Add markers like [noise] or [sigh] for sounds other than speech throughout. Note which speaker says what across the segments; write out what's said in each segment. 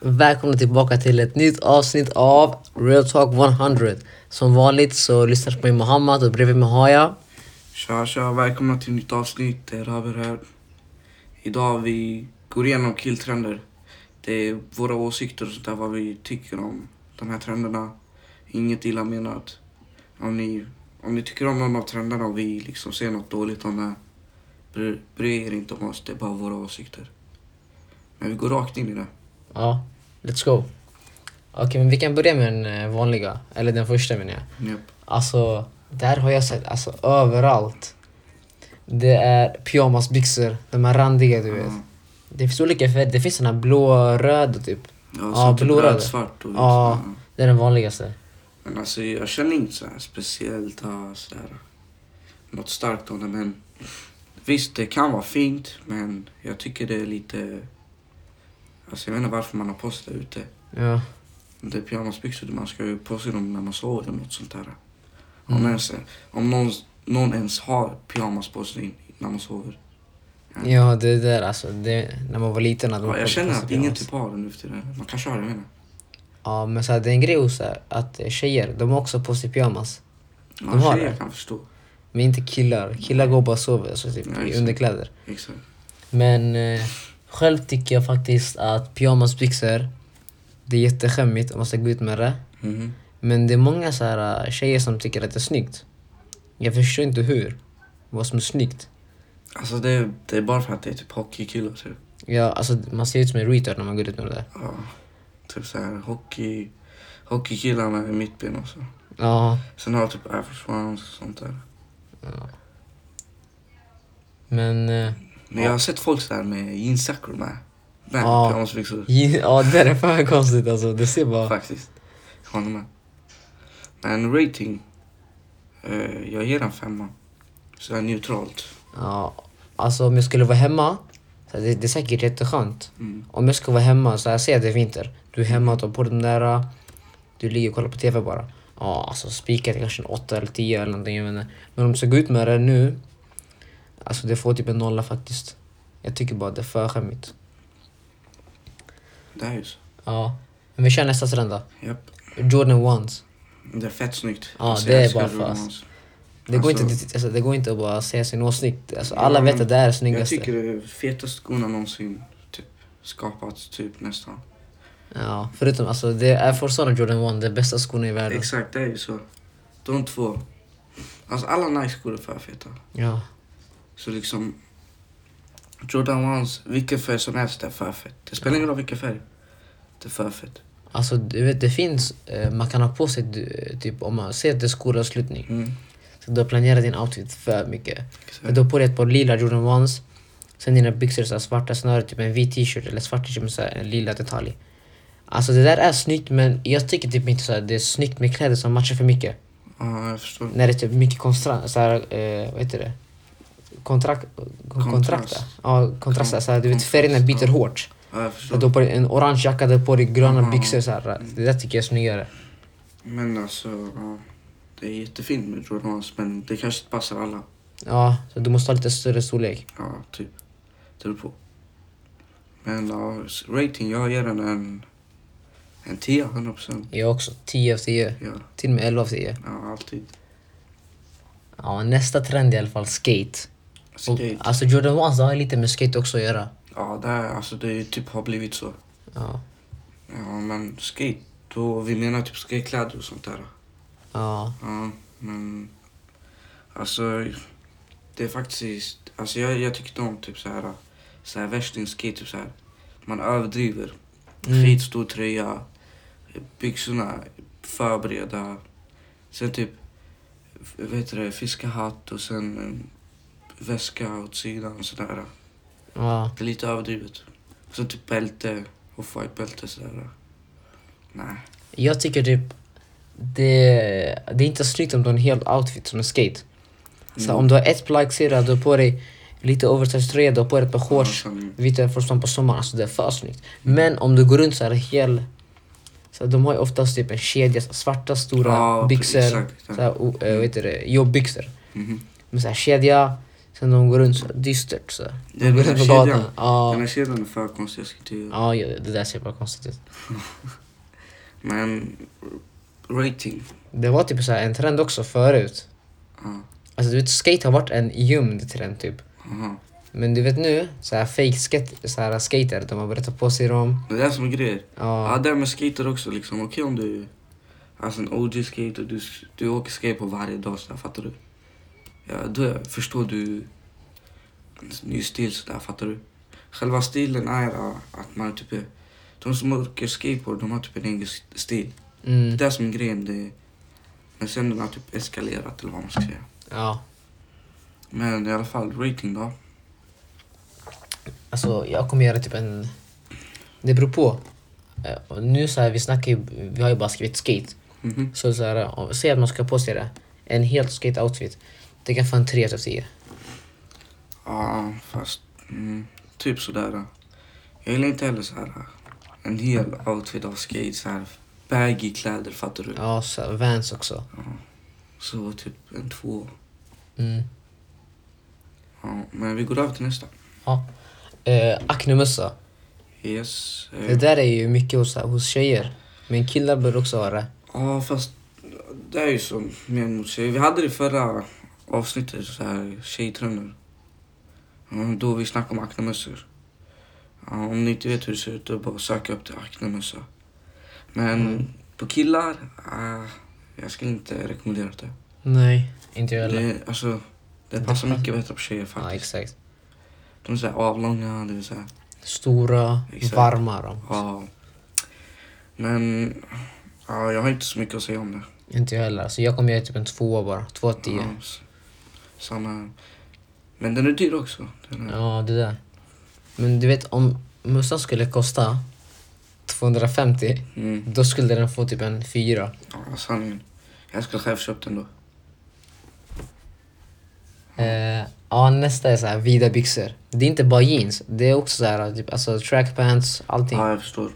Speaker 1: Välkomna tillbaka till ett nytt avsnitt av Real Talk 100. Som vanligt så lyssnar på mig Mohammed och bredvid mig har jag...
Speaker 2: Tja tja, välkomna till nytt avsnitt. Det är Raber här. Idag vi går igenom killtrender. Det är våra åsikter och sånt där, vad vi tycker om de här trenderna. Inget illa menat. Om ni, om ni tycker om någon av trenderna och vi liksom ser något dåligt om det, bry- bry er inte om oss. Det är bara våra åsikter. Men vi går rakt in i det.
Speaker 1: Ja, let's go. Okej, men vi kan börja med den eh, vanliga. Eller den första menar jag.
Speaker 2: Japp.
Speaker 1: Alltså, där har jag sett alltså överallt. Det är pyjamasbyxor, de här randiga du vet.
Speaker 2: Ja.
Speaker 1: Det finns olika färger, det finns såna blå, röda typ.
Speaker 2: Ja,
Speaker 1: Ja,
Speaker 2: så typ
Speaker 1: blodröd.
Speaker 2: röd, svart och vitt.
Speaker 1: Ja,
Speaker 2: Ja.
Speaker 1: det är den vanligaste.
Speaker 2: Men alltså jag känner inte så här speciellt ja, så här, något starkt om det men visst det kan vara fint men jag tycker det är lite alltså jag vet inte varför man har på sig det ute.
Speaker 1: Ja.
Speaker 2: Det är pyjamasbyxor, man ska ju på sig dem när man sover eller något sånt där. Om, ens, om någon, någon ens har pyjamas på sig när man sover.
Speaker 1: Ja, det där alltså. Det, när man var liten hade man
Speaker 2: Ja, jag
Speaker 1: på sig
Speaker 2: känner att ingen
Speaker 1: pyjamas.
Speaker 2: typ har det nu för tiden. Man kanske har det, jag vet inte.
Speaker 1: Ja, men så här, det är en grej hos så här, att tjejer, de har också på sig pyjamas.
Speaker 2: Ja,
Speaker 1: De har
Speaker 2: tjejer
Speaker 1: det.
Speaker 2: kan förstå.
Speaker 1: Men inte killar. Killar går bara och sover, alltså typ
Speaker 2: Ja,
Speaker 1: i
Speaker 2: exakt.
Speaker 1: underkläder.
Speaker 2: Exakt.
Speaker 1: Men eh, själv tycker jag faktiskt att pyjamasbyxor, det är jätteskämmigt om man ska gå ut med det.
Speaker 2: Mhm.
Speaker 1: Men det är många så här, eh, tjejer som tycker att det är snyggt. Jag förstår inte hur. Vad som är snyggt.
Speaker 2: Alltså det, det är bara för att det är typ hockeykillar typ.
Speaker 1: Ja, alltså, man ser ut som en retard när man går ut med det där.
Speaker 2: Ja, typ såhär hockey, hockeykillarna i mitt ben också.
Speaker 1: Ja,
Speaker 2: Sen har jag typ Air Force Ones och sånt där.
Speaker 1: men... eh, [laughs]
Speaker 2: Men jag har sett folk såhär med jeansjackor med. Med
Speaker 1: Ja.
Speaker 2: pyjamasbyxor.
Speaker 1: Ja, det där är fan konstigt alltså. Det ser bara...
Speaker 2: Faktiskt. Jag håller med. Men rating. Eh, jag ger en femma. Så här neutralt.
Speaker 1: Ja, alltså om jag skulle vara hemma, så det, det är säkert jätteskönt.
Speaker 2: Mm.
Speaker 1: Om jag skulle vara hemma, så här, säg att det är vinter. Du är hemma, tar på dig de där, du ligger och kollar på TV bara. Ja, alltså spikat kanske en 8 eller 10 eller någonting, jag vet inte. Men om du ska gå ut med det nu, alltså det får typ en nolla faktiskt. Jag tycker bara det är för skämmigt.
Speaker 2: Det är ju så.
Speaker 1: Ja. Men vi kör nästa trend då.
Speaker 2: Japp.
Speaker 1: Jordan ones.
Speaker 2: Det är fett snyggt.
Speaker 1: Ja, det
Speaker 2: jag
Speaker 1: är
Speaker 2: älskar
Speaker 1: bara för
Speaker 2: Jordan
Speaker 1: oss.
Speaker 2: Ones.
Speaker 1: Det går,
Speaker 2: Alltså-
Speaker 1: inte, att- alltså, det går inte att bara säga sin åsikt. Alltså,
Speaker 2: Ja,
Speaker 1: alla vet
Speaker 2: men
Speaker 1: att det här är
Speaker 2: Jag
Speaker 1: snyggaste.
Speaker 2: tycker det är fetaste skorna någonsin typ, skapats typ nästan.
Speaker 1: Ja, förutom alltså, det är Air Force One och Jordan One, det bästa skorna i världen.
Speaker 2: Exakt, det är ju så. De två. Alltså alla Nike-skor är för feta.
Speaker 1: Ja.
Speaker 2: Så liksom... Jordan Ones, vilken färg som helst är för fett. Det spelar ingen roll vilken färg. Det är för fett.
Speaker 1: Alltså du vet, det finns, eh, man kan ha på sig du- typ om man ser att det är skolavslutning.
Speaker 2: Mm.
Speaker 1: Så du har planerat din outfit för mycket. För
Speaker 2: Exakt.
Speaker 1: du har på dig ett par lila Jordan Ones, sen dina byxor så här svarta snöret, typ en vit t-shirt eller svart t-shirt med så här en lila detalj. Alltså det där är snyggt men jag tycker typ inte så här, det är snyggt med kläder som matchar för mycket.
Speaker 2: Ja, jag förstår.
Speaker 1: När det är typ mycket konstrast, så här, eh, vad heter det? Kontrakt, kontrakta.
Speaker 2: Kontrast.
Speaker 1: Ja, kontraster. Så här, du vet
Speaker 2: Kontrast,
Speaker 1: färgerna byter
Speaker 2: ja.
Speaker 1: hårt.
Speaker 2: Ja,
Speaker 1: Du
Speaker 2: jag
Speaker 1: har
Speaker 2: förstår.
Speaker 1: på dig en orange jacka, du har på dig gröna
Speaker 2: Mm.
Speaker 1: byxor. Så här. Det där tycker jag är snyggare.
Speaker 2: Men alltså, ja. Det är jättefint med Jordan Ones, men det kanske inte passar alla.
Speaker 1: Ja, så du måste ha lite större storlek.
Speaker 2: Ja, typ. Det beror på. Men ja, rating, jag ger den en... En 10, 100 procent.
Speaker 1: Jag har också 10 av 10.
Speaker 2: Ja,
Speaker 1: Till och med 11 av 10.
Speaker 2: ja, alltid.
Speaker 1: Ja, nästa trend i alla fall, skate. Och,
Speaker 2: Skate.
Speaker 1: alltså Jordan Ones det har ju lite med skate också att göra.
Speaker 2: Ja, det, är, alltså, det är typ har blivit så.
Speaker 1: Ja.
Speaker 2: Ja, men skate, då, vi menar typ skatekläder och sånt där.
Speaker 1: Ja.
Speaker 2: Ja, men alltså det är faktiskt, alltså jag, jag tyckte om typ så här, så här värstingskate, typ så här. Man överdriver.
Speaker 1: Mm.
Speaker 2: Fet stor tröja, byxorna för breda. Sen typ, vad heter det, fiskehatt och sen en väska åt sidan och sådär.
Speaker 1: ja.
Speaker 2: Det är lite överdrivet. Och sen typ bälte, off-white bälte sådär. Nej.
Speaker 1: Jag tycker typ... Det, det är inte snyggt om du har en hel outfit som en skate. Så
Speaker 2: Mm.
Speaker 1: om du har ett plagg, ser du att du har på dig lite oversized tröja, du har på dig ett par shorts.
Speaker 2: Ja, sen-
Speaker 1: vita Air Force One på sommaren, alltså det är för snyggt. Men om du går runt så här hel... Så här, de har ju oftast typ en kedja, så här, svarta stora
Speaker 2: Ja,
Speaker 1: byxor,
Speaker 2: exakt, exakt.
Speaker 1: så här, o- eh, vad heter det, jobbbyxor.
Speaker 2: Mhm.
Speaker 1: Med så här kedja, Sen de går runt så här dystert så. här.
Speaker 2: Det är
Speaker 1: de går
Speaker 2: den här
Speaker 1: runt på
Speaker 2: kedjan.
Speaker 1: gatan. Ja.
Speaker 2: Den här kedjan är för konstig, jag ska inte göra.
Speaker 1: Ja, ja, det där ser bara konstigt ut.
Speaker 2: Men rating.
Speaker 1: Det var typ så här en trend också förut.
Speaker 2: Ja.
Speaker 1: Alltså du vet, skate har varit en gömd trend typ.
Speaker 2: Aha.
Speaker 1: Men du vet nu, så här fake skate, så här skater, de har börjat ta på sig dem.
Speaker 2: Det är det som är grejen. Ja,
Speaker 1: Ja,
Speaker 2: det där med skater också liksom. Okej om du... Alltså en OG-skater, du, du åker skate på varje dag sådär, fattar du? Ja, då förstår du en ny stil sådär, fattar du? Själva stilen är ja, att man typ... är- De som åker skateboard, de har typ en egen s- stil. Det är
Speaker 1: mm,
Speaker 2: det som är grejen. Det, men sen den har typ eskalerat eller vad man ska säga.
Speaker 1: ja.
Speaker 2: Men i alla fall, rating då.
Speaker 1: Alltså jag kommer göra typ en... Det beror på. Eh, och Nu så här, vi snackar ju, vi har ju bara skrivit skate.
Speaker 2: Mhm.
Speaker 1: Så, så här, om- säg att man ska ha på sig det. En helt skate-outfit. Det kan få en 3 av 10.
Speaker 2: Ja, fast mm, typ sådär. ja. Jag gillar inte heller såhär en hel outfit av skate, såhär baggy kläder fattar du.
Speaker 1: Ja, så här, Vans också.
Speaker 2: Så typ en två.
Speaker 1: Mm.
Speaker 2: Ja, men vi går över till nästa.
Speaker 1: Ja. Eh, Acne-mössa.
Speaker 2: Yes. eh,
Speaker 1: Det där är ju mycket hos, hos tjejer. Men killar bör också ha det.
Speaker 2: Ja, fast det är ju så mer mot tjejer. Vi hade det i förra avsnittet, så här tjejtrender. Ja, Då vi snackade om aknemössor. Ja, Om ni inte vet hur det ser ut, då bara söka upp till aknemössa. Men
Speaker 1: Mm.
Speaker 2: på killar, ah, jag skulle inte rekommendera det.
Speaker 1: Nej. Inte jag heller.
Speaker 2: Det, alltså, det
Speaker 1: Det
Speaker 2: passar
Speaker 1: passar.
Speaker 2: mycket bättre på tjejer
Speaker 1: Ja,
Speaker 2: faktiskt.
Speaker 1: exakt.
Speaker 2: De är så här avlånga, det är så här,
Speaker 1: Stora,
Speaker 2: Exakt.
Speaker 1: varma de.
Speaker 2: ja. Men ja, jag har inte så mycket att säga om det.
Speaker 1: Inte jag heller. Så jag kommer göra typ en tvåa bara. Två av tio.
Speaker 2: Ja, s- samma. Men den är dyr också. Den är,
Speaker 1: Ja, det där. Men du vet, om mössan skulle kosta 250,
Speaker 2: Mm.
Speaker 1: då skulle den få typ en fyra.
Speaker 2: ja, sanningen. Jag skulle själv köpt den då.
Speaker 1: Eh, ja, nästa är så här vida byxor. Det är inte bara jeans. Det är också så här, typ, alltså trackpants, allting.
Speaker 2: Ja, jag förstår.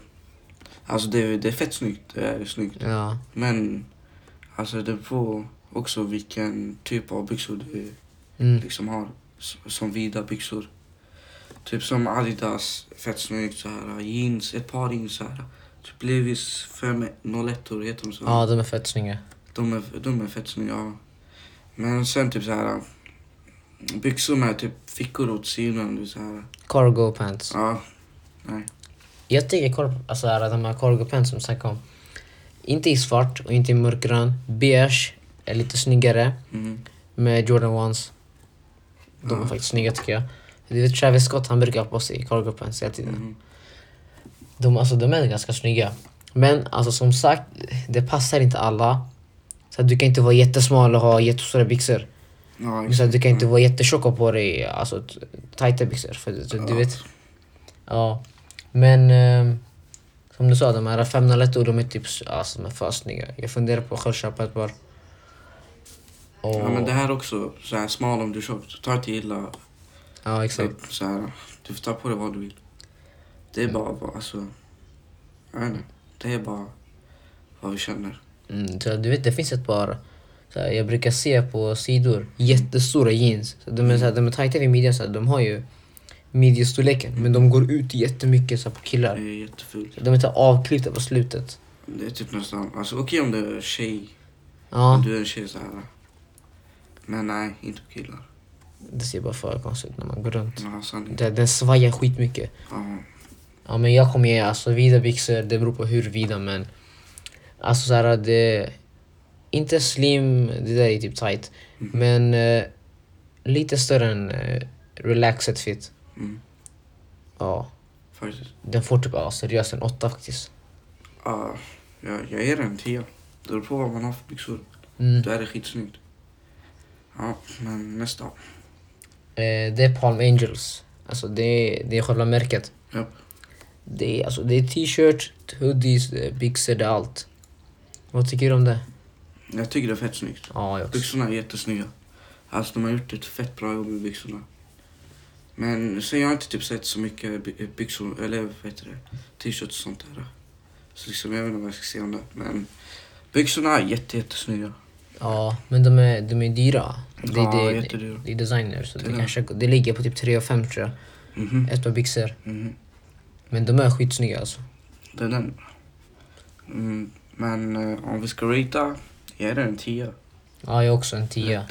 Speaker 2: Alltså det, är- det är fett snyggt. Det är snyggt.
Speaker 1: Ja,
Speaker 2: Men alltså det beror också vilken typ av byxor du
Speaker 1: mm,
Speaker 2: liksom har. S- Som vida byxor. Typ som Adidas, fett snyggt så här. Jeans, ett par jeans så här. Typ Levi's 501 heter de så. här.
Speaker 1: ja de är fett snygga.
Speaker 2: De är, de är fett snygga. ja. Men sen typ så här byxor med typ fickor åt sidan. Du, så här.
Speaker 1: Cargo pants.
Speaker 2: Ja, nej.
Speaker 1: Jag tycker kor- alltså, här, de här cargo pants som vi snackade om. Inte i svart och inte i mörkgrön. Beige är lite snyggare
Speaker 2: Mm.
Speaker 1: med Jordan ones. De är faktiskt snygga tycker jag. Du vet Travis Scott han brukar ha på sig cargo pants hela tiden.
Speaker 2: Mm.
Speaker 1: De, alltså, de är ganska snygga. Men alltså som sagt, det passar inte alla. Så att du kan inte vara jättesmal och ha jättestora byxor.
Speaker 2: Ja,
Speaker 1: Så att du kan inte
Speaker 2: ja.
Speaker 1: vara jättetjock och ha på dig alltså, t- tajta byxor. För du, du, du
Speaker 2: Ja.
Speaker 1: vet. Ja. Men ehm, som du sa, de här 501 de är typ s- alltså, de är för snygga. Jag funderar på att själv köpa ett par. Och,
Speaker 2: Ja, men det här också, så här smal om du är tjock. Ta inte illa.
Speaker 1: ja, exakt.
Speaker 2: upp, Så här, du får ta på dig vad du vill. Det är bara, bara alltså. Jag vet inte. Det är bara vad vi känner.
Speaker 1: Mm, så du vet, det finns ett par, så här, jag brukar se på sidor, jättestora jeans. Så de, är, så här, de är tajta vid midjan, så här, de har ju midjestorleken men de går ut jättemycket så här, på
Speaker 2: Det
Speaker 1: killar.
Speaker 2: är jättefult.
Speaker 1: De är inte avklippta på slutet.
Speaker 2: Det är typ nästan, alltså okej om du är tjej. Om
Speaker 1: Ja,
Speaker 2: du är en tjej så här. Men nej, inte på killar.
Speaker 1: det ser bara för konstigt ut när man går runt.
Speaker 2: Ja, sanningen.
Speaker 1: Den, den svajar skitmycket.
Speaker 2: Ja.
Speaker 1: Ja men jag kommer ge alltså vida byxor, det beror på hur vida men Alltså såhär det Inte slim, det där är typ tight
Speaker 2: Mm.
Speaker 1: Men eh, lite större än eh, relaxed fit
Speaker 2: Mm.
Speaker 1: Ja,
Speaker 2: Faktiskt.
Speaker 1: den får typ ja, seriöst en åtta faktiskt
Speaker 2: Ja, jag, jag ger en tia. Det beror på vad man har för byxor.
Speaker 1: mm.
Speaker 2: Då är det skitsnyggt. Ja, men nästa.
Speaker 1: eh, Det är Palm Angels Alltså det är, det är själva märket
Speaker 2: Ja.
Speaker 1: Det är alltså det är t-shirt, hoodies, eh, byxor, det är allt Vad tycker du om det?
Speaker 2: Jag tycker det är fett snyggt.
Speaker 1: Ja, jag också
Speaker 2: Byxorna är jättesnygga. Alltså de har gjort ett fett bra jobb med byxorna. Men sen jag har inte typ sett så mycket by- byxor, eller vad heter det, t-shirts och sånt där. Så liksom jag vet inte vad jag ska säga om det. Men byxorna är jätte, jättesnygga.
Speaker 1: Ja, men de är, de är dyra. Det,
Speaker 2: Ja,
Speaker 1: det,
Speaker 2: jättedyra.
Speaker 1: det är designers. Så det,
Speaker 2: Dyra.
Speaker 1: kanske, det ligger på typ 3 och 5 tror jag.
Speaker 2: Mhm.
Speaker 1: Ett par byxor.
Speaker 2: Mhm.
Speaker 1: Men de är skitsnygga alltså.
Speaker 2: Det är den. Mm, men eh, om vi ska ratea, jag är en 10.
Speaker 1: Ja, jag är också en 10.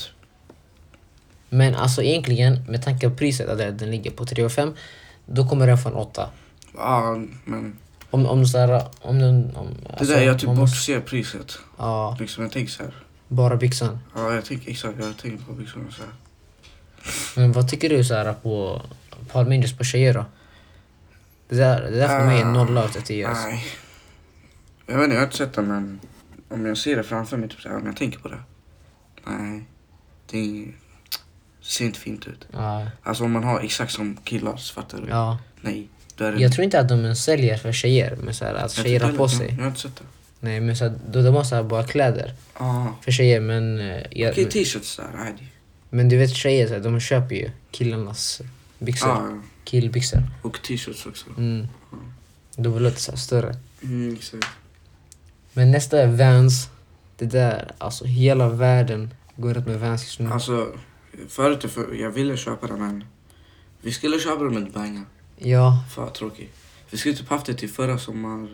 Speaker 1: Men alltså egentligen, med tanke på priset, att den ligger på 3 och 5 då kommer den få en 8.
Speaker 2: Ja, men
Speaker 1: Om, om såhär, om den... Om,
Speaker 2: det
Speaker 1: alltså,
Speaker 2: där, jag typ
Speaker 1: man måste-
Speaker 2: bortser priset.
Speaker 1: Ja,
Speaker 2: Liksom jag tänker så här.
Speaker 1: bara byxan.
Speaker 2: Ja, jag tänker exakt, jag tänker på byxorna så här.
Speaker 1: Men vad tycker du såhär på Paul Mendes på tjejer då? Det där, det där för mig är
Speaker 2: Ah,
Speaker 1: 0 av 10 alltså.
Speaker 2: Nej. Jag vet inte, jag har inte sett den men om jag ser det framför mig, typ så här, om jag tänker på det. Nej. Det är- det ser inte fint ut.
Speaker 1: Ja,
Speaker 2: Alltså om man har exakt som killar, så fattar du?
Speaker 1: ja.
Speaker 2: Nej. Då är det
Speaker 1: Jag tror inte att de ens säljer för tjejer, men såhär att
Speaker 2: Jag
Speaker 1: tjejer har
Speaker 2: tycker-
Speaker 1: på
Speaker 2: Jag,
Speaker 1: sig.
Speaker 2: jag har inte sett det.
Speaker 1: Nej men såhär, då de har såhär bara kläder
Speaker 2: Ah.
Speaker 1: för tjejer men... eh, jag-
Speaker 2: Okej, typ. t-shirts där. Nej, det-
Speaker 1: men du vet tjejer, såhär, de köper ju killarnas byxor.
Speaker 2: ah,
Speaker 1: Killbyxor.
Speaker 2: och t-shirts också.
Speaker 1: Mm. Då blir det lite såhär större.
Speaker 2: Mm, exakt.
Speaker 1: Men nästa är Vans. Det där, alltså hela världen går runt med Vans just nu.
Speaker 2: Alltså, förut för, jag ville köpa den men vi skulle köpa den men det bangade.
Speaker 1: Ja,
Speaker 2: Fan tråkigt. Vi skulle typ haft det till förra sommar,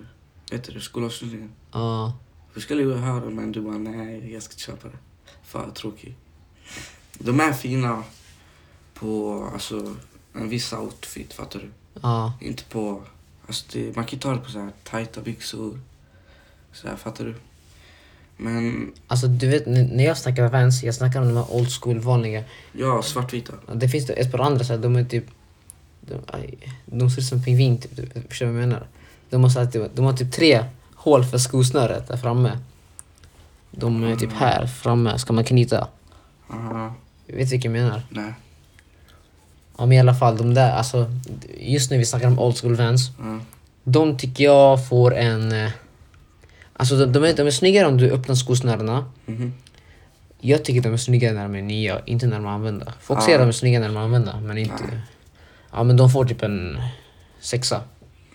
Speaker 2: vet du det, skolavslutningen.
Speaker 1: ja.
Speaker 2: Vi skulle ju ha den men du bara nej, jag ska inte köpa det. Fan tråkigt. De är fina på alltså en viss outfit, fattar du?
Speaker 1: Ja,
Speaker 2: Inte på, alltså det, man kan ju ta det på så här tajta byxor. Så här, fattar du? Men
Speaker 1: alltså du vet n- när jag snackar om Vans, jag snackar om de här old school vanliga.
Speaker 2: ja, svartvita.
Speaker 1: Det finns det ett par andra så här, de är typ... De, aj, de ser ut som pingvin typ, du förstår vad jag menar? De har, så här, typ, de har typ tre hål för skosnöret där framme. De är typ här framme, ska man knyta.
Speaker 2: Aha,
Speaker 1: Vet du vilka jag menar?
Speaker 2: nej.
Speaker 1: Ja men i alla fall de där, alltså just nu vi snackar om old school Vans.
Speaker 2: Ja.
Speaker 1: De tycker jag får en... eh, Alltså de, de, är, de är snyggare om du öppnar skosnörena.
Speaker 2: Mhm.
Speaker 1: Jag tycker de är snyggare när de är nya, inte när de är använda. Folk
Speaker 2: Ja.
Speaker 1: säger att de är snygga när de är använda, men inte...
Speaker 2: Nej.
Speaker 1: Ja men de får typ en sexa.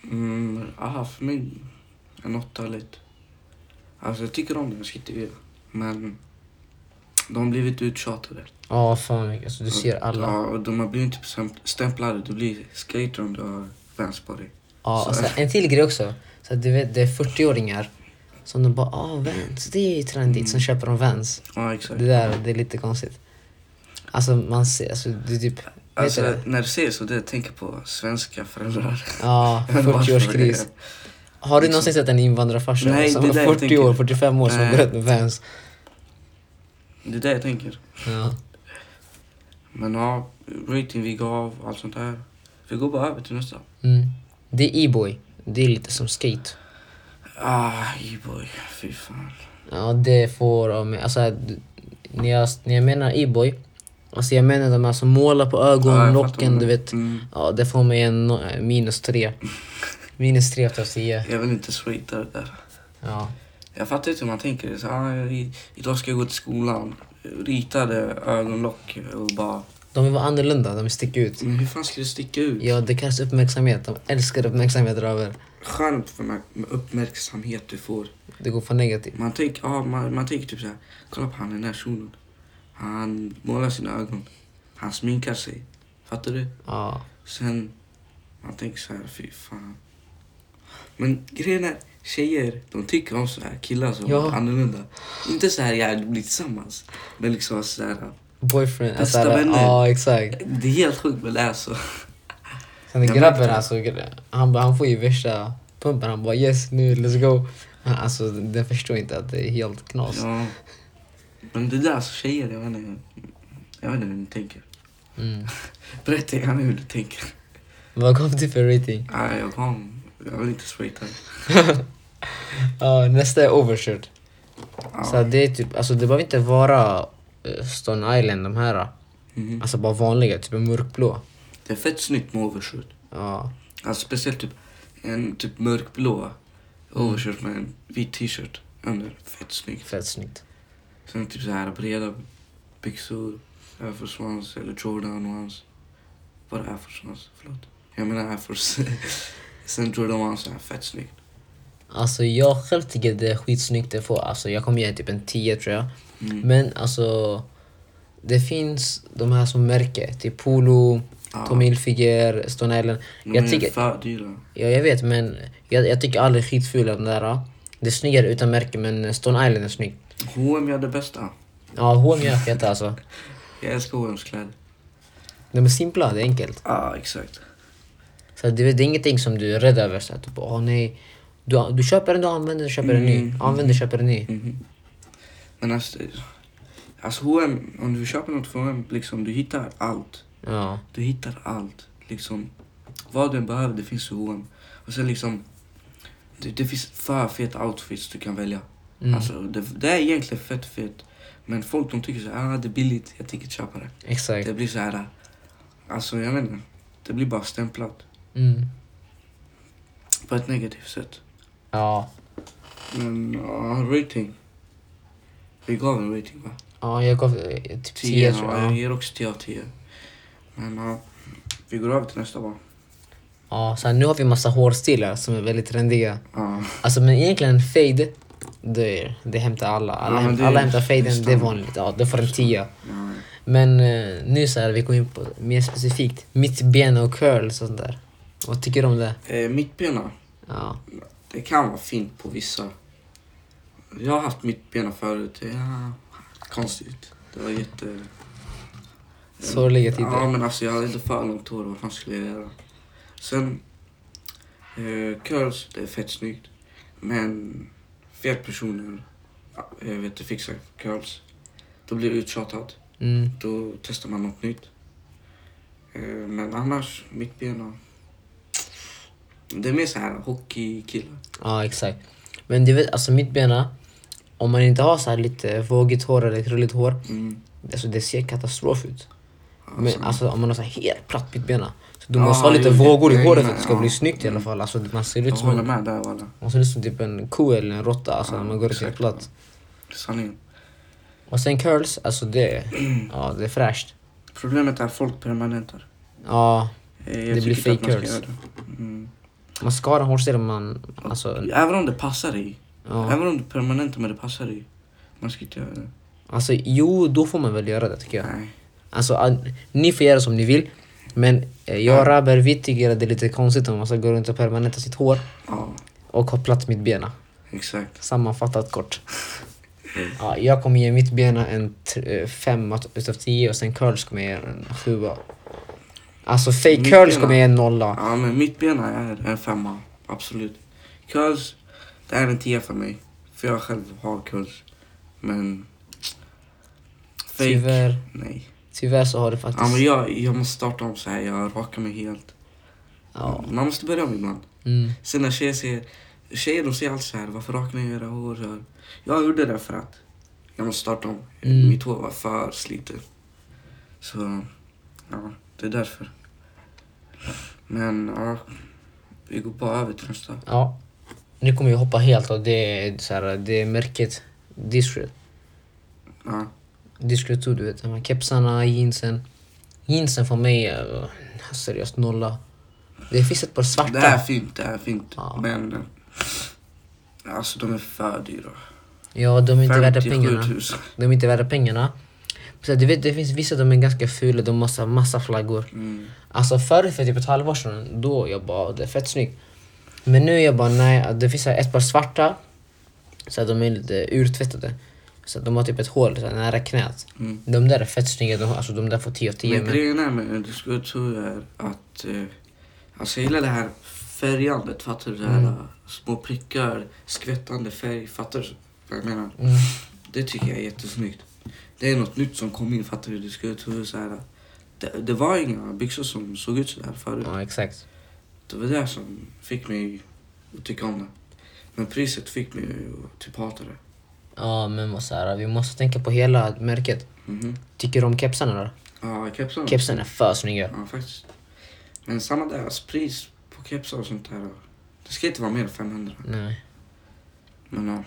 Speaker 2: Mm, aha, för mig en åtta lite. Alltså jag tycker om den, jag ska inte ljuga. Men de har blivit uttjatade.
Speaker 1: Ja fan mycket, alltså du ser alla.
Speaker 2: Ja, och de har blivit typ stäm- stämplade. Du blir skater om du har Vans på dig.
Speaker 1: Ja, och sen, en till grej också. Så att du vet, det är 40-åringar som de bara ah Vans, det är ju trendigt,
Speaker 2: Mm.
Speaker 1: sen köper de Vans.
Speaker 2: Ja, exakt.
Speaker 1: Det där, det är lite konstigt. Alltså man ser, alltså du typ... vet
Speaker 2: Alltså [laughs]
Speaker 1: du det?
Speaker 2: när du säger så, det jag tänker på svenska föräldrar. [laughs]
Speaker 1: Ja,
Speaker 2: Varför
Speaker 1: 40-årskris.
Speaker 2: det?
Speaker 1: Har du någonsin sett en invandrarfarsa
Speaker 2: Nej,
Speaker 1: som
Speaker 2: det
Speaker 1: är
Speaker 2: är det jag
Speaker 1: 40
Speaker 2: tänker.
Speaker 1: år, 45 år som
Speaker 2: Nej.
Speaker 1: går runt med Vans?
Speaker 2: Det är det jag tänker.
Speaker 1: Ja.
Speaker 2: Men ja, rating vi gav, allt sånt där. Vi går bara över till nästa.
Speaker 1: Mm. Det är e-boy. Det är lite som skate.
Speaker 2: Ah, E-boy. Fy fan.
Speaker 1: Ja, det får av mig... Alltså, d- när jag, när jag menar e-boy, alltså jag menar de här som målar på
Speaker 2: Ja,
Speaker 1: ögonen,
Speaker 2: jag fattar
Speaker 1: locken,
Speaker 2: vad
Speaker 1: du
Speaker 2: du-
Speaker 1: vet.
Speaker 2: Mm.
Speaker 1: Ja, det får mig en no- eh, minus tre. Minus tre utav tio.
Speaker 2: Jag vill inte straighta det där.
Speaker 1: Ja.
Speaker 2: Jag fattar inte hur man tänker. Så, ah, i, idag ska jag gå till skolan. Ritade ögonlock och bara...
Speaker 1: De vill vara annorlunda, de vill sticka ut.
Speaker 2: Men hur fan ska det sticka ut?
Speaker 1: Ja, det kallas uppmärksamhet. De älskar uppmärksamhet över.
Speaker 2: Skön uppmärk- uppmärksamhet du får.
Speaker 1: Det går från negativt.
Speaker 2: Man tänker, ah, man, man tänker typ så här. Kolla på han den där shunon. Han målar sina ögon. Han sminkar sig. Fattar du?
Speaker 1: Ja.
Speaker 2: Sen, man tänker så här, fy fan. Men grejen är, tjejer, de tycker om så här killar som
Speaker 1: Ja.
Speaker 2: är annorlunda. Inte så här, ja, de blir tillsammans. Men liksom så här,
Speaker 1: Boyfriend.
Speaker 2: Bästa
Speaker 1: alltså,
Speaker 2: vänner.
Speaker 1: Ja, exakt.
Speaker 2: det är helt sjukt men det är så.
Speaker 1: Sen
Speaker 2: Jag
Speaker 1: grabben
Speaker 2: märkte det.
Speaker 1: alltså, gre- han, bara- han får ju värsta pumpen. Han bara yes nu, let's go. Han- Alltså den förstår inte att det är helt knas.
Speaker 2: Ja. Men det där, alltså tjejer, jag vet inte, jag vet inte hur ni tänker.
Speaker 1: Mm.
Speaker 2: Berätta gärna hur du tänker.
Speaker 1: Vad kom du för
Speaker 2: [laughs]
Speaker 1: rating?
Speaker 2: Nej, jag kom. Jag vill inte sprayta.
Speaker 1: Ja, nästa är overshirt. Så
Speaker 2: Ja.
Speaker 1: det är typ, alltså det behöver inte vara eh, Stone Island de här.
Speaker 2: Mhm.
Speaker 1: Alltså bara vanliga, typ mörkblå.
Speaker 2: Det är fett snyggt med overshirt.
Speaker 1: Ja,
Speaker 2: Alltså speciellt typ en typ mörkblå overshirt med en vit t-shirt under. Fett snyggt.
Speaker 1: fett snyggt.
Speaker 2: Sen typ så här breda byxor. Air Force Ones eller Jordan Ones. Var [laughs] det Air Force Ones? Förlåt. Jag menar Air Force. Sen Jordan Ones är fett snyggt.
Speaker 1: Alltså jag själv tycker det är skitsnyggt att få. Alltså jag kommer ge typ en 10 tror jag.
Speaker 2: Mm.
Speaker 1: Men alltså, det finns de här som märker. Typ Polo,
Speaker 2: Ja.
Speaker 1: Tommy Hilfiger, Stone Island.
Speaker 2: De är
Speaker 1: Jag tycker,
Speaker 2: för dyra.
Speaker 1: ja, jag vet men jag, jag tycker aldrig skitfula de där. ah. Det är snyggare utan märke men Stone Island är snygg.
Speaker 2: H&M gör det bästa.
Speaker 1: Ja, H&M är feta alltså.
Speaker 2: Jag älskar H&M's kläder.
Speaker 1: De är simpla, det är enkelt.
Speaker 2: Ja, ah, exakt.
Speaker 1: Så det, det är ingenting som du är rädd över. Så här, typ, åh nej. Du, du köper en, du använder, du köper en ny.
Speaker 2: Mm.
Speaker 1: Använder, köper en ny.
Speaker 2: Mhm. Men alltså, alltså H&M, om du köper något från H&M, liksom du hittar allt.
Speaker 1: Ja.
Speaker 2: Du hittar allt. Liksom, vad du än behöver, det finns i H&M. Och sen liksom, det, det finns för feta outfits du kan välja.
Speaker 1: Mm.
Speaker 2: Alltså, det, det är egentligen fett fet. Men folk de tycker så här, ah, det är billigt, jag tänker inte köpa det.
Speaker 1: Exakt.
Speaker 2: Det blir så här, alltså jag vet inte. Det blir bara stämplat.
Speaker 1: Mm.
Speaker 2: På ett negativt sätt.
Speaker 1: Ja.
Speaker 2: Men ja, rating. Vi gav en rating va?
Speaker 1: ja, jag gav eh, typ 10
Speaker 2: 10
Speaker 1: tror
Speaker 2: ja, jag
Speaker 1: jag.
Speaker 2: ger också 10 av 10. Men ja, vi går över till nästa bara.
Speaker 1: Ja, så här, nu har vi massa hårstilar som är väldigt trendiga.
Speaker 2: Ja,
Speaker 1: Alltså men egentligen fade, det, är- det hämtar alla. Alla,
Speaker 2: Ja, men
Speaker 1: häm,
Speaker 2: det är-
Speaker 1: alla hämtar faden, det är
Speaker 2: standard.
Speaker 1: vanligt. Ja, det får en tia.
Speaker 2: ja,
Speaker 1: Men eh, nu så här, vi kommer in på mer specifikt. Mittbena och curl och sånt där. Vad tycker du om det?
Speaker 2: eh, mittbena,
Speaker 1: Ja.
Speaker 2: det kan vara fint på vissa. Jag har haft mittbena förut. Ja, konstigt. Det var jätte...
Speaker 1: Sorgliga
Speaker 2: Ja,
Speaker 1: tider.
Speaker 2: men alltså jag hade inte för långt hår. Vad fan skulle jag göra? Sen, eh, curls, det är fett snyggt. Men fel personer, ja, jag vet inte, fixar curls. Då blir det uttjatat.
Speaker 1: Mm.
Speaker 2: Då testar man något nytt. Eh, Men annars, mitt bena. Det är mer så här hockeykillar.
Speaker 1: Ja, exakt. Men du vet, alltså mittbena, om man inte har så här lite vågigt hår eller krulligt hår,
Speaker 2: Mm.
Speaker 1: alltså det ser katastrof ut. Men
Speaker 2: Alltså,
Speaker 1: alltså om man har så här helt platt mittbena, så du
Speaker 2: Ja,
Speaker 1: måste ha lite
Speaker 2: jo,
Speaker 1: vågor i
Speaker 2: jag
Speaker 1: håret
Speaker 2: menar,
Speaker 1: för att det ska
Speaker 2: ja.
Speaker 1: bli snyggt i alla fall. Alltså man ser
Speaker 2: jag
Speaker 1: ut som en
Speaker 2: håller med där walla.
Speaker 1: Man ser ut som typ en ko eller en råtta alltså,
Speaker 2: Ja,
Speaker 1: när man går ut helt
Speaker 2: exakt.
Speaker 1: platt.
Speaker 2: Sanningen.
Speaker 1: Och sen curls, alltså det,
Speaker 2: [clears throat]
Speaker 1: ja, det är fräscht.
Speaker 2: Problemet är att folk permanentar.
Speaker 1: Ja,
Speaker 2: Eh,
Speaker 1: Det
Speaker 2: Jag
Speaker 1: blir
Speaker 2: tycker inte
Speaker 1: fake
Speaker 2: att man ska
Speaker 1: curls.
Speaker 2: göra det. Mm.
Speaker 1: man ska ha en hårstil om man, alltså,
Speaker 2: Även om det passar dig.
Speaker 1: ja.
Speaker 2: Även om du permanentar men det passar dig. Man ska inte göra det.
Speaker 1: Alltså jo, då får man väl göra det tycker jag.
Speaker 2: Nej.
Speaker 1: Alltså, ah, ni får göra som ni vill. Men eh, jag och Raber, vi tycker att det är lite konstigt om man ska gå runt och permanenta sitt hår
Speaker 2: Ja,
Speaker 1: och ha platt mittbena.
Speaker 2: exakt.
Speaker 1: Sammanfattat
Speaker 2: [laughs]
Speaker 1: kort. Ja, jag kommer ge mittbena en 5 utav 10 och sen curls kommer jag ge en 7. Alltså fake curls
Speaker 2: Mittbena?
Speaker 1: kommer jag ge en 0.
Speaker 2: Ja men mitt bena är en femma. Absolut. Curls, det är en tia för mig. För jag själv har curls. Men... Fake.
Speaker 1: Tyvärr,
Speaker 2: Nej.
Speaker 1: tyvärr så har det faktiskt...
Speaker 2: Ja men jag, jag måste starta om så här. Jag rakar mig helt.
Speaker 1: Ja.
Speaker 2: Man måste börja om ibland.
Speaker 1: Mm.
Speaker 2: Sen när tjejer säger... Tjejer de säger alltid så här. Varför rakar ni era hår? Så här. Jag gjorde det för att jag måste starta om.
Speaker 1: Mm.
Speaker 2: Mitt hår var för slitet. Så... Ja, det är därför. Men ja. Vi går bara över till nästa.
Speaker 1: ja. Nu kommer jag hoppa helt och det är så här, det är märket Discret.
Speaker 2: Ja.
Speaker 1: Discret too, du vet. De här kepsarna, jeansen. Jeansen för mig är eh, seriöst nolla. Det finns ett par svarta.
Speaker 2: Det är fint, det är fint.
Speaker 1: Ja.
Speaker 2: Men eh, alltså de är för dyra.
Speaker 1: Ja, de är inte värda
Speaker 2: 57 000.
Speaker 1: pengarna. De är inte värda pengarna. Så du vet, det finns vissa de är ganska fula, de har massa, massa flaggor.
Speaker 2: Mm.
Speaker 1: Alltså förr, för typ ett halvår sedan, då jag bara det är fett snyggt. Men nu jag bara nej, det finns så här ett par svarta, så att de är lite urtvättade. Så att de har typ ett hål så här, nära knät.
Speaker 2: Mm.
Speaker 1: De där är fett snygga, de, har- alltså de där får 10 av 10.
Speaker 2: Men
Speaker 1: Men,
Speaker 2: grejen är med underskottshuv är att eh, alltså jag gillar det här färgandet, fattar du? Det här eh, små prickar, skvättande färg, fattar du vad jag menar?
Speaker 1: mm,
Speaker 2: Det tycker jag är jättesnyggt. Det är något nytt som kom in, fattar du? Underskottshuv så här. eh, Det, det var inga byxor som såg ut sådär förut.
Speaker 1: ja, exakt.
Speaker 2: Det var det som fick mig att tycka om det. Men priset fick mig att typ hata det.
Speaker 1: Ja, men vad så här, vi måste tänka på hela märket.
Speaker 2: Mhm.
Speaker 1: Tycker du om kepsarna då?
Speaker 2: Ja, kepsarna.
Speaker 1: Kepsarna är för snygga.
Speaker 2: Ja, faktiskt. Men samma där, alltså, pris på kepsar och sånt där. Det ska inte vara mer än 500.
Speaker 1: Nej.
Speaker 2: Men ja,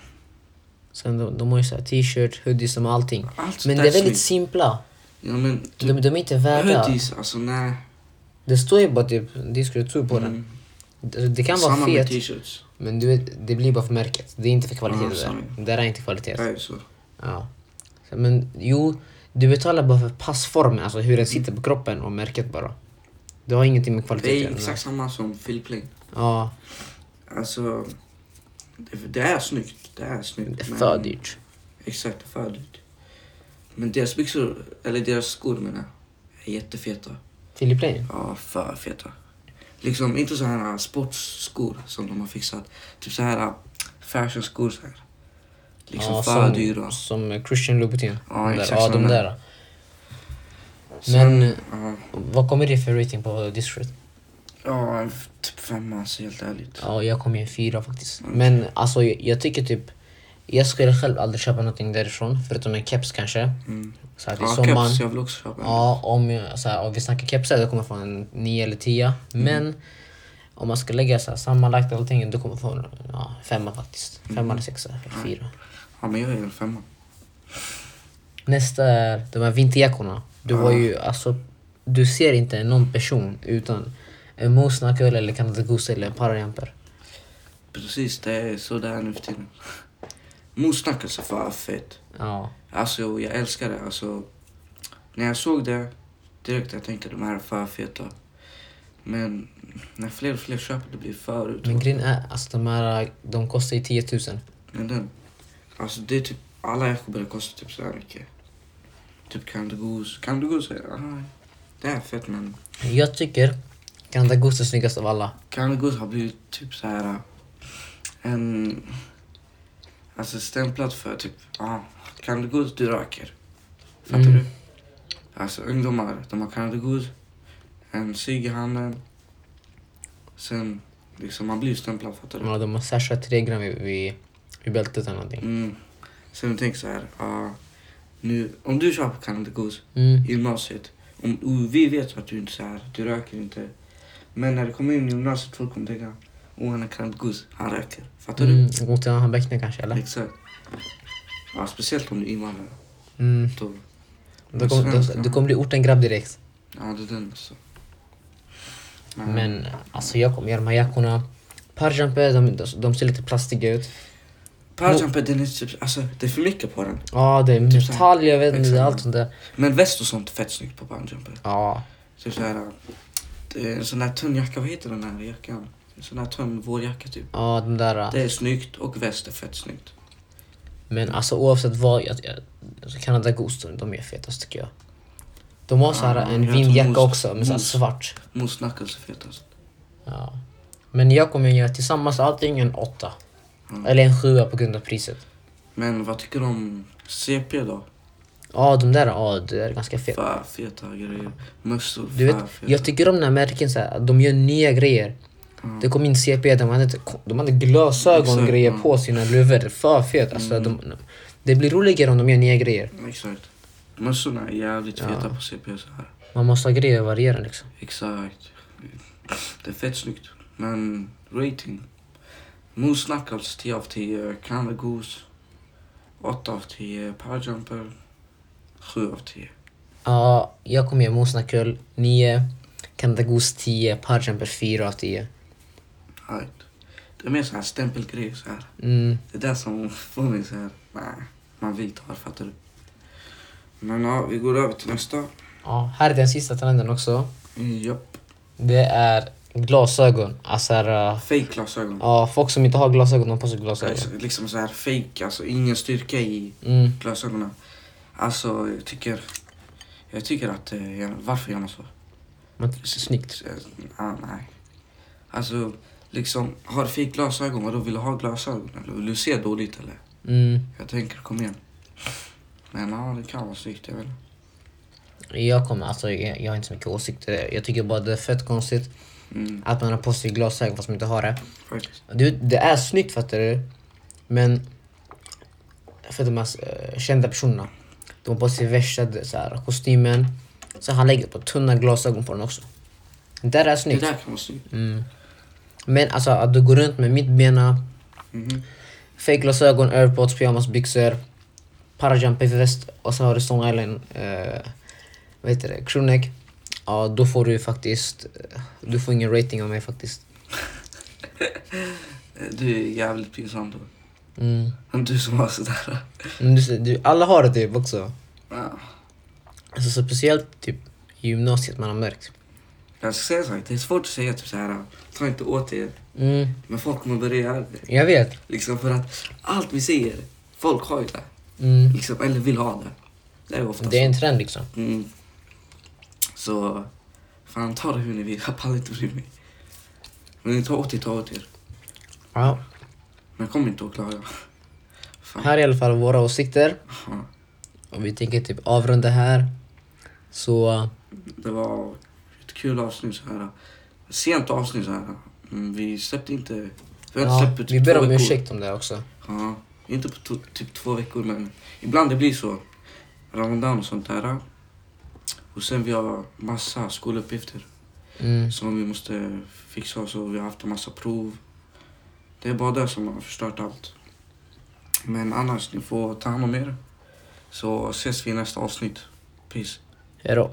Speaker 1: Sen de, de har ju så här t-shirt, hoodies, de har allting.
Speaker 2: allt
Speaker 1: Men
Speaker 2: sånt
Speaker 1: det är
Speaker 2: där
Speaker 1: väldigt
Speaker 2: snyggt.
Speaker 1: simpla.
Speaker 2: Ja, men
Speaker 1: De,
Speaker 2: typ
Speaker 1: de är inte värda...
Speaker 2: hoodies, alltså nej.
Speaker 1: Det står ju bara typ diskretour på den.
Speaker 2: Mm.
Speaker 1: Alltså, Det, det kan vara
Speaker 2: Samma med
Speaker 1: fet.
Speaker 2: t-shirts.
Speaker 1: Men du vet, det blir bara för märket. Det är inte för kvalitet
Speaker 2: Ja,
Speaker 1: det där.
Speaker 2: sorry.
Speaker 1: Det där är inte kvalitet.
Speaker 2: Nej, så.
Speaker 1: Ja. Så, Men jo, du betalar bara för passformen, alltså hur den sitter
Speaker 2: Mm.
Speaker 1: på kroppen och märket bara. Det har ingenting med kvalitet
Speaker 2: Det
Speaker 1: att
Speaker 2: är
Speaker 1: göra.
Speaker 2: exakt samma som Philplay.
Speaker 1: Ja,
Speaker 2: Alltså, det, det är snyggt. Det är snyggt.
Speaker 1: det är
Speaker 2: men-
Speaker 1: för dyrt.
Speaker 2: Exakt, för dyrt. Men deras byxor, eller deras skor menar jag, är jättefeta.
Speaker 1: Philip Lane?
Speaker 2: Ja, för feta. Liksom inte så här sportsskor som de har fixat. Typ så här fashionskor så här. Liksom
Speaker 1: ja,
Speaker 2: för
Speaker 1: som,
Speaker 2: dyra.
Speaker 1: Som Christian Louboutin.
Speaker 2: Ja,
Speaker 1: De där,
Speaker 2: exakt
Speaker 1: ja, de
Speaker 2: sådana.
Speaker 1: där.
Speaker 2: Sen, äh,
Speaker 1: Men-
Speaker 2: ja,
Speaker 1: Vad kommer det för rating på Discord?
Speaker 2: ja, f- typ femma alltså helt ärligt.
Speaker 1: Ja, jag kom ju en fyra faktiskt.
Speaker 2: Mm.
Speaker 1: Men alltså jag, jag tycker typ... Jag skulle själv aldrig köpa någonting därifrån, förutom en keps kanske.
Speaker 2: Mm.
Speaker 1: Så att i
Speaker 2: Ja,
Speaker 1: sommaren...
Speaker 2: keps, jag vill också köpa en.
Speaker 1: Ja, om, jag, så här, om vi snackar kepsar då kommer jag få en 9 eller 10. Men om man ska lägga så här, sammanlagt allting då kommer jag få en ja, femma faktiskt. Femma eller sexa, eller fyra.
Speaker 2: Ja, men jag är en femma.
Speaker 1: Nästa är de här vinterjackorna. Du har ju alltså, du ser inte någon person utan en mosnacköl eller kanadagoose eller en parajamper.
Speaker 2: Precis, det är så det är nu för tiden. [laughs] Mosnack alltså, för fett.
Speaker 1: Ja,
Speaker 2: Alltså jag älskar det. Alltså, när jag såg det direkt jag tänkte de här är för feta. Men när fler och fler köper det blir för ut.
Speaker 1: men grejen är alltså de här, de kostar ju 10 000.
Speaker 2: Men den, alltså det är typ, alla jackor börjar kosta typ så här mycket. Typ Candy Goose. Candy Goose är, ah, det är fett men
Speaker 1: Jag tycker kanadagoose är snyggast av alla.
Speaker 2: Candy Goose har blivit typ så här en, alltså stämplat för typ, ah, Candy Goose du röker. Fattar
Speaker 1: Mm.
Speaker 2: du? Alltså ungdomar, de har Candy Goose, en cigg i handen. Sen liksom man blir stämplad fattar du?
Speaker 1: Ja, de har särskilt 3 gram vid, vid, vid bältet eller någonting.
Speaker 2: Mm. Sen tänk så här, ah, nu, om du köper Candy Goose
Speaker 1: Mm.
Speaker 2: i gymnasiet. Om, och vi vet att du inte så här, du röker inte. Men när du kommer in i gymnasiet folk kommer tänka, åh han är kantgus, han röker. Fattar Mm.
Speaker 1: Mm, mot en annan bäckning kanske
Speaker 2: du?
Speaker 1: eller?
Speaker 2: Exakt. Ja, speciellt om du är invandrare.
Speaker 1: Mm.
Speaker 2: Då,
Speaker 1: Du, kom, du, du kommer bli ortengrabb direkt.
Speaker 2: Ja, det är den alltså. Ja.
Speaker 1: Men alltså jag kommer göra de här jackorna. Parjumper, de, de, de ser lite plastiga ut.
Speaker 2: Parajumper, den är typ, alltså det är för mycket på den.
Speaker 1: Ja, det är
Speaker 2: Typ så här.
Speaker 1: metall, jag vet inte,
Speaker 2: Exakt.
Speaker 1: allt sånt där.
Speaker 2: Men väst och sånt är fett snyggt på parajumper.
Speaker 1: Ja,
Speaker 2: Typ så här, det är en sån här tunn jacka, vad heter den här jackan? En sån här tunn vårjacka typ.
Speaker 1: ja de där.
Speaker 2: Det är snyggt och väst är fett snyggt.
Speaker 1: Men alltså oavsett vad, jag, jag, alltså, Canada Goose, de- de är fetast tycker jag. De har så här
Speaker 2: Ja,
Speaker 1: en
Speaker 2: jag tror mos-
Speaker 1: vindjacka också, men så här
Speaker 2: mos.
Speaker 1: svart.
Speaker 2: Mos knuckles är alltså. fetast.
Speaker 1: Ja. Men jag kommer göra tillsammans allting en åtta.
Speaker 2: Mm.
Speaker 1: Eller en sjua på grund av priset.
Speaker 2: Men vad tycker du om CP då?
Speaker 1: Ja, de där, ja, det där är ganska fet.
Speaker 2: För feta grejer. Mössor,
Speaker 1: Du vet,
Speaker 2: för feta.
Speaker 1: jag tycker om när märken så här, att de gör nya grejer.
Speaker 2: Mm.
Speaker 1: Det kom in CP, de hade, inte- de hade glasögon och
Speaker 2: Exakt,
Speaker 1: grejer
Speaker 2: ja. Mm.
Speaker 1: på sina luvor. För fet. Alltså, de, det blir roligare om de gör nya grejer.
Speaker 2: Exakt. Mössorna är jävligt feta på CP så här.
Speaker 1: Man måste ha grejer att variera liksom.
Speaker 2: Exakt. Det är fett snyggt. Men rating. Mos knuckles 10 av 10. Canada Goose 8 av 10. Parajumper 7 av 10.
Speaker 1: Ja, jag kommer göra Mosnakull 9, Kandagos 10, Parjumper 4 av 10.
Speaker 2: Alright. Det är mer så här stämpelgrejer så här.
Speaker 1: Mm.
Speaker 2: Det är det som får mig så här. Nej, man vill ta det fattar du. Men ja, vi går över till nästa.
Speaker 1: Ja, här är den sista trenden också.
Speaker 2: Japp.
Speaker 1: Det är glasögon. Alltså, här, äh,
Speaker 2: Fake glasögon.
Speaker 1: ja, folk som inte har glasögon, de har på sig glasögon.
Speaker 2: Alltså, Liksom så här fake, alltså ingen styrka i
Speaker 1: Mm.
Speaker 2: glasögonen. Alltså jag tycker, jag tycker att, eh, jag- varför gör man så?
Speaker 1: Man, snyggt.
Speaker 2: Eh, ah, nej. Alltså liksom, har du fake glasögon, vadå vill du ha glasögon? Eller vill du se dåligt eller?
Speaker 1: Mm.
Speaker 2: Jag tänker, kom igen. Men ja, det kan vara snyggt, jag vet inte.
Speaker 1: Jag kommer, alltså jag, jag har inte så mycket åsikter. Jag tycker bara det är fett konstigt
Speaker 2: Mm,
Speaker 1: att man har på sig glasögon fast man inte har det.
Speaker 2: faktiskt.
Speaker 1: Det, det är snyggt fattar du. Men för de här eh, kända personerna. De har på sig värsta så här, kostymen. Så han lägger på tunna glasögon på den också. Det där är
Speaker 2: Det
Speaker 1: snyggt.
Speaker 2: där kan vara snyggt.
Speaker 1: Mm. Men alltså att du går runt med mittbena,
Speaker 2: Mhm.
Speaker 1: fejkglasögon, airpods, pyjamas, byxor, parajumper, väst och sen har du Stone Island, eh, vad heter det, crewneck. Ja, då eh, får du faktiskt, du får ingen rating av mig faktiskt.
Speaker 2: Eh, Du är jävligt pinsam då.
Speaker 1: Mm.
Speaker 2: Men Du som har sådär. Ah.
Speaker 1: Men du, du, alla har det typ också.
Speaker 2: Ja.
Speaker 1: Alltså så speciellt typ i gymnasiet man har märkt.
Speaker 2: Jag ska säga så här, det är svårt att säga typ såhär, ta inte åt er.
Speaker 1: Mm.
Speaker 2: Men folk kommer börja göra det.
Speaker 1: Jag vet.
Speaker 2: Liksom för att allt vi säger, folk har ju det.
Speaker 1: Mm.
Speaker 2: Liksom, eller vill ha det. Det är ofta
Speaker 1: Det är
Speaker 2: så.
Speaker 1: en trend liksom.
Speaker 2: Mm. Så, fan ta det hur ni vill. Jag pallar inte bry mig. Men ni tar åt er, ta åt er.
Speaker 1: Ja.
Speaker 2: Men kom inte och klaga. Fan.
Speaker 1: Här är i alla fall våra åsikter.
Speaker 2: Ja.
Speaker 1: Och vi tänker typ avrunda här. Så
Speaker 2: Det var ett kul avsnitt så här. Sent avsnitt så här. Mm, vi släppte inte... Vi har inte
Speaker 1: ja,
Speaker 2: släppt på typ
Speaker 1: vi
Speaker 2: två
Speaker 1: ber om
Speaker 2: veckor.
Speaker 1: ursäkt om det också.
Speaker 2: Ja, inte på to- typ två veckor men ibland det blir så. Ramadan och sånt där. Och sen vi har massa skoluppgifter
Speaker 1: Mm.
Speaker 2: som vi måste fixa så vi har haft en massa prov. Det är bara det som har förstört allt. Men annars, ni får ta hand om er. Så ses vi i nästa avsnitt. Peace.
Speaker 1: Hejdå.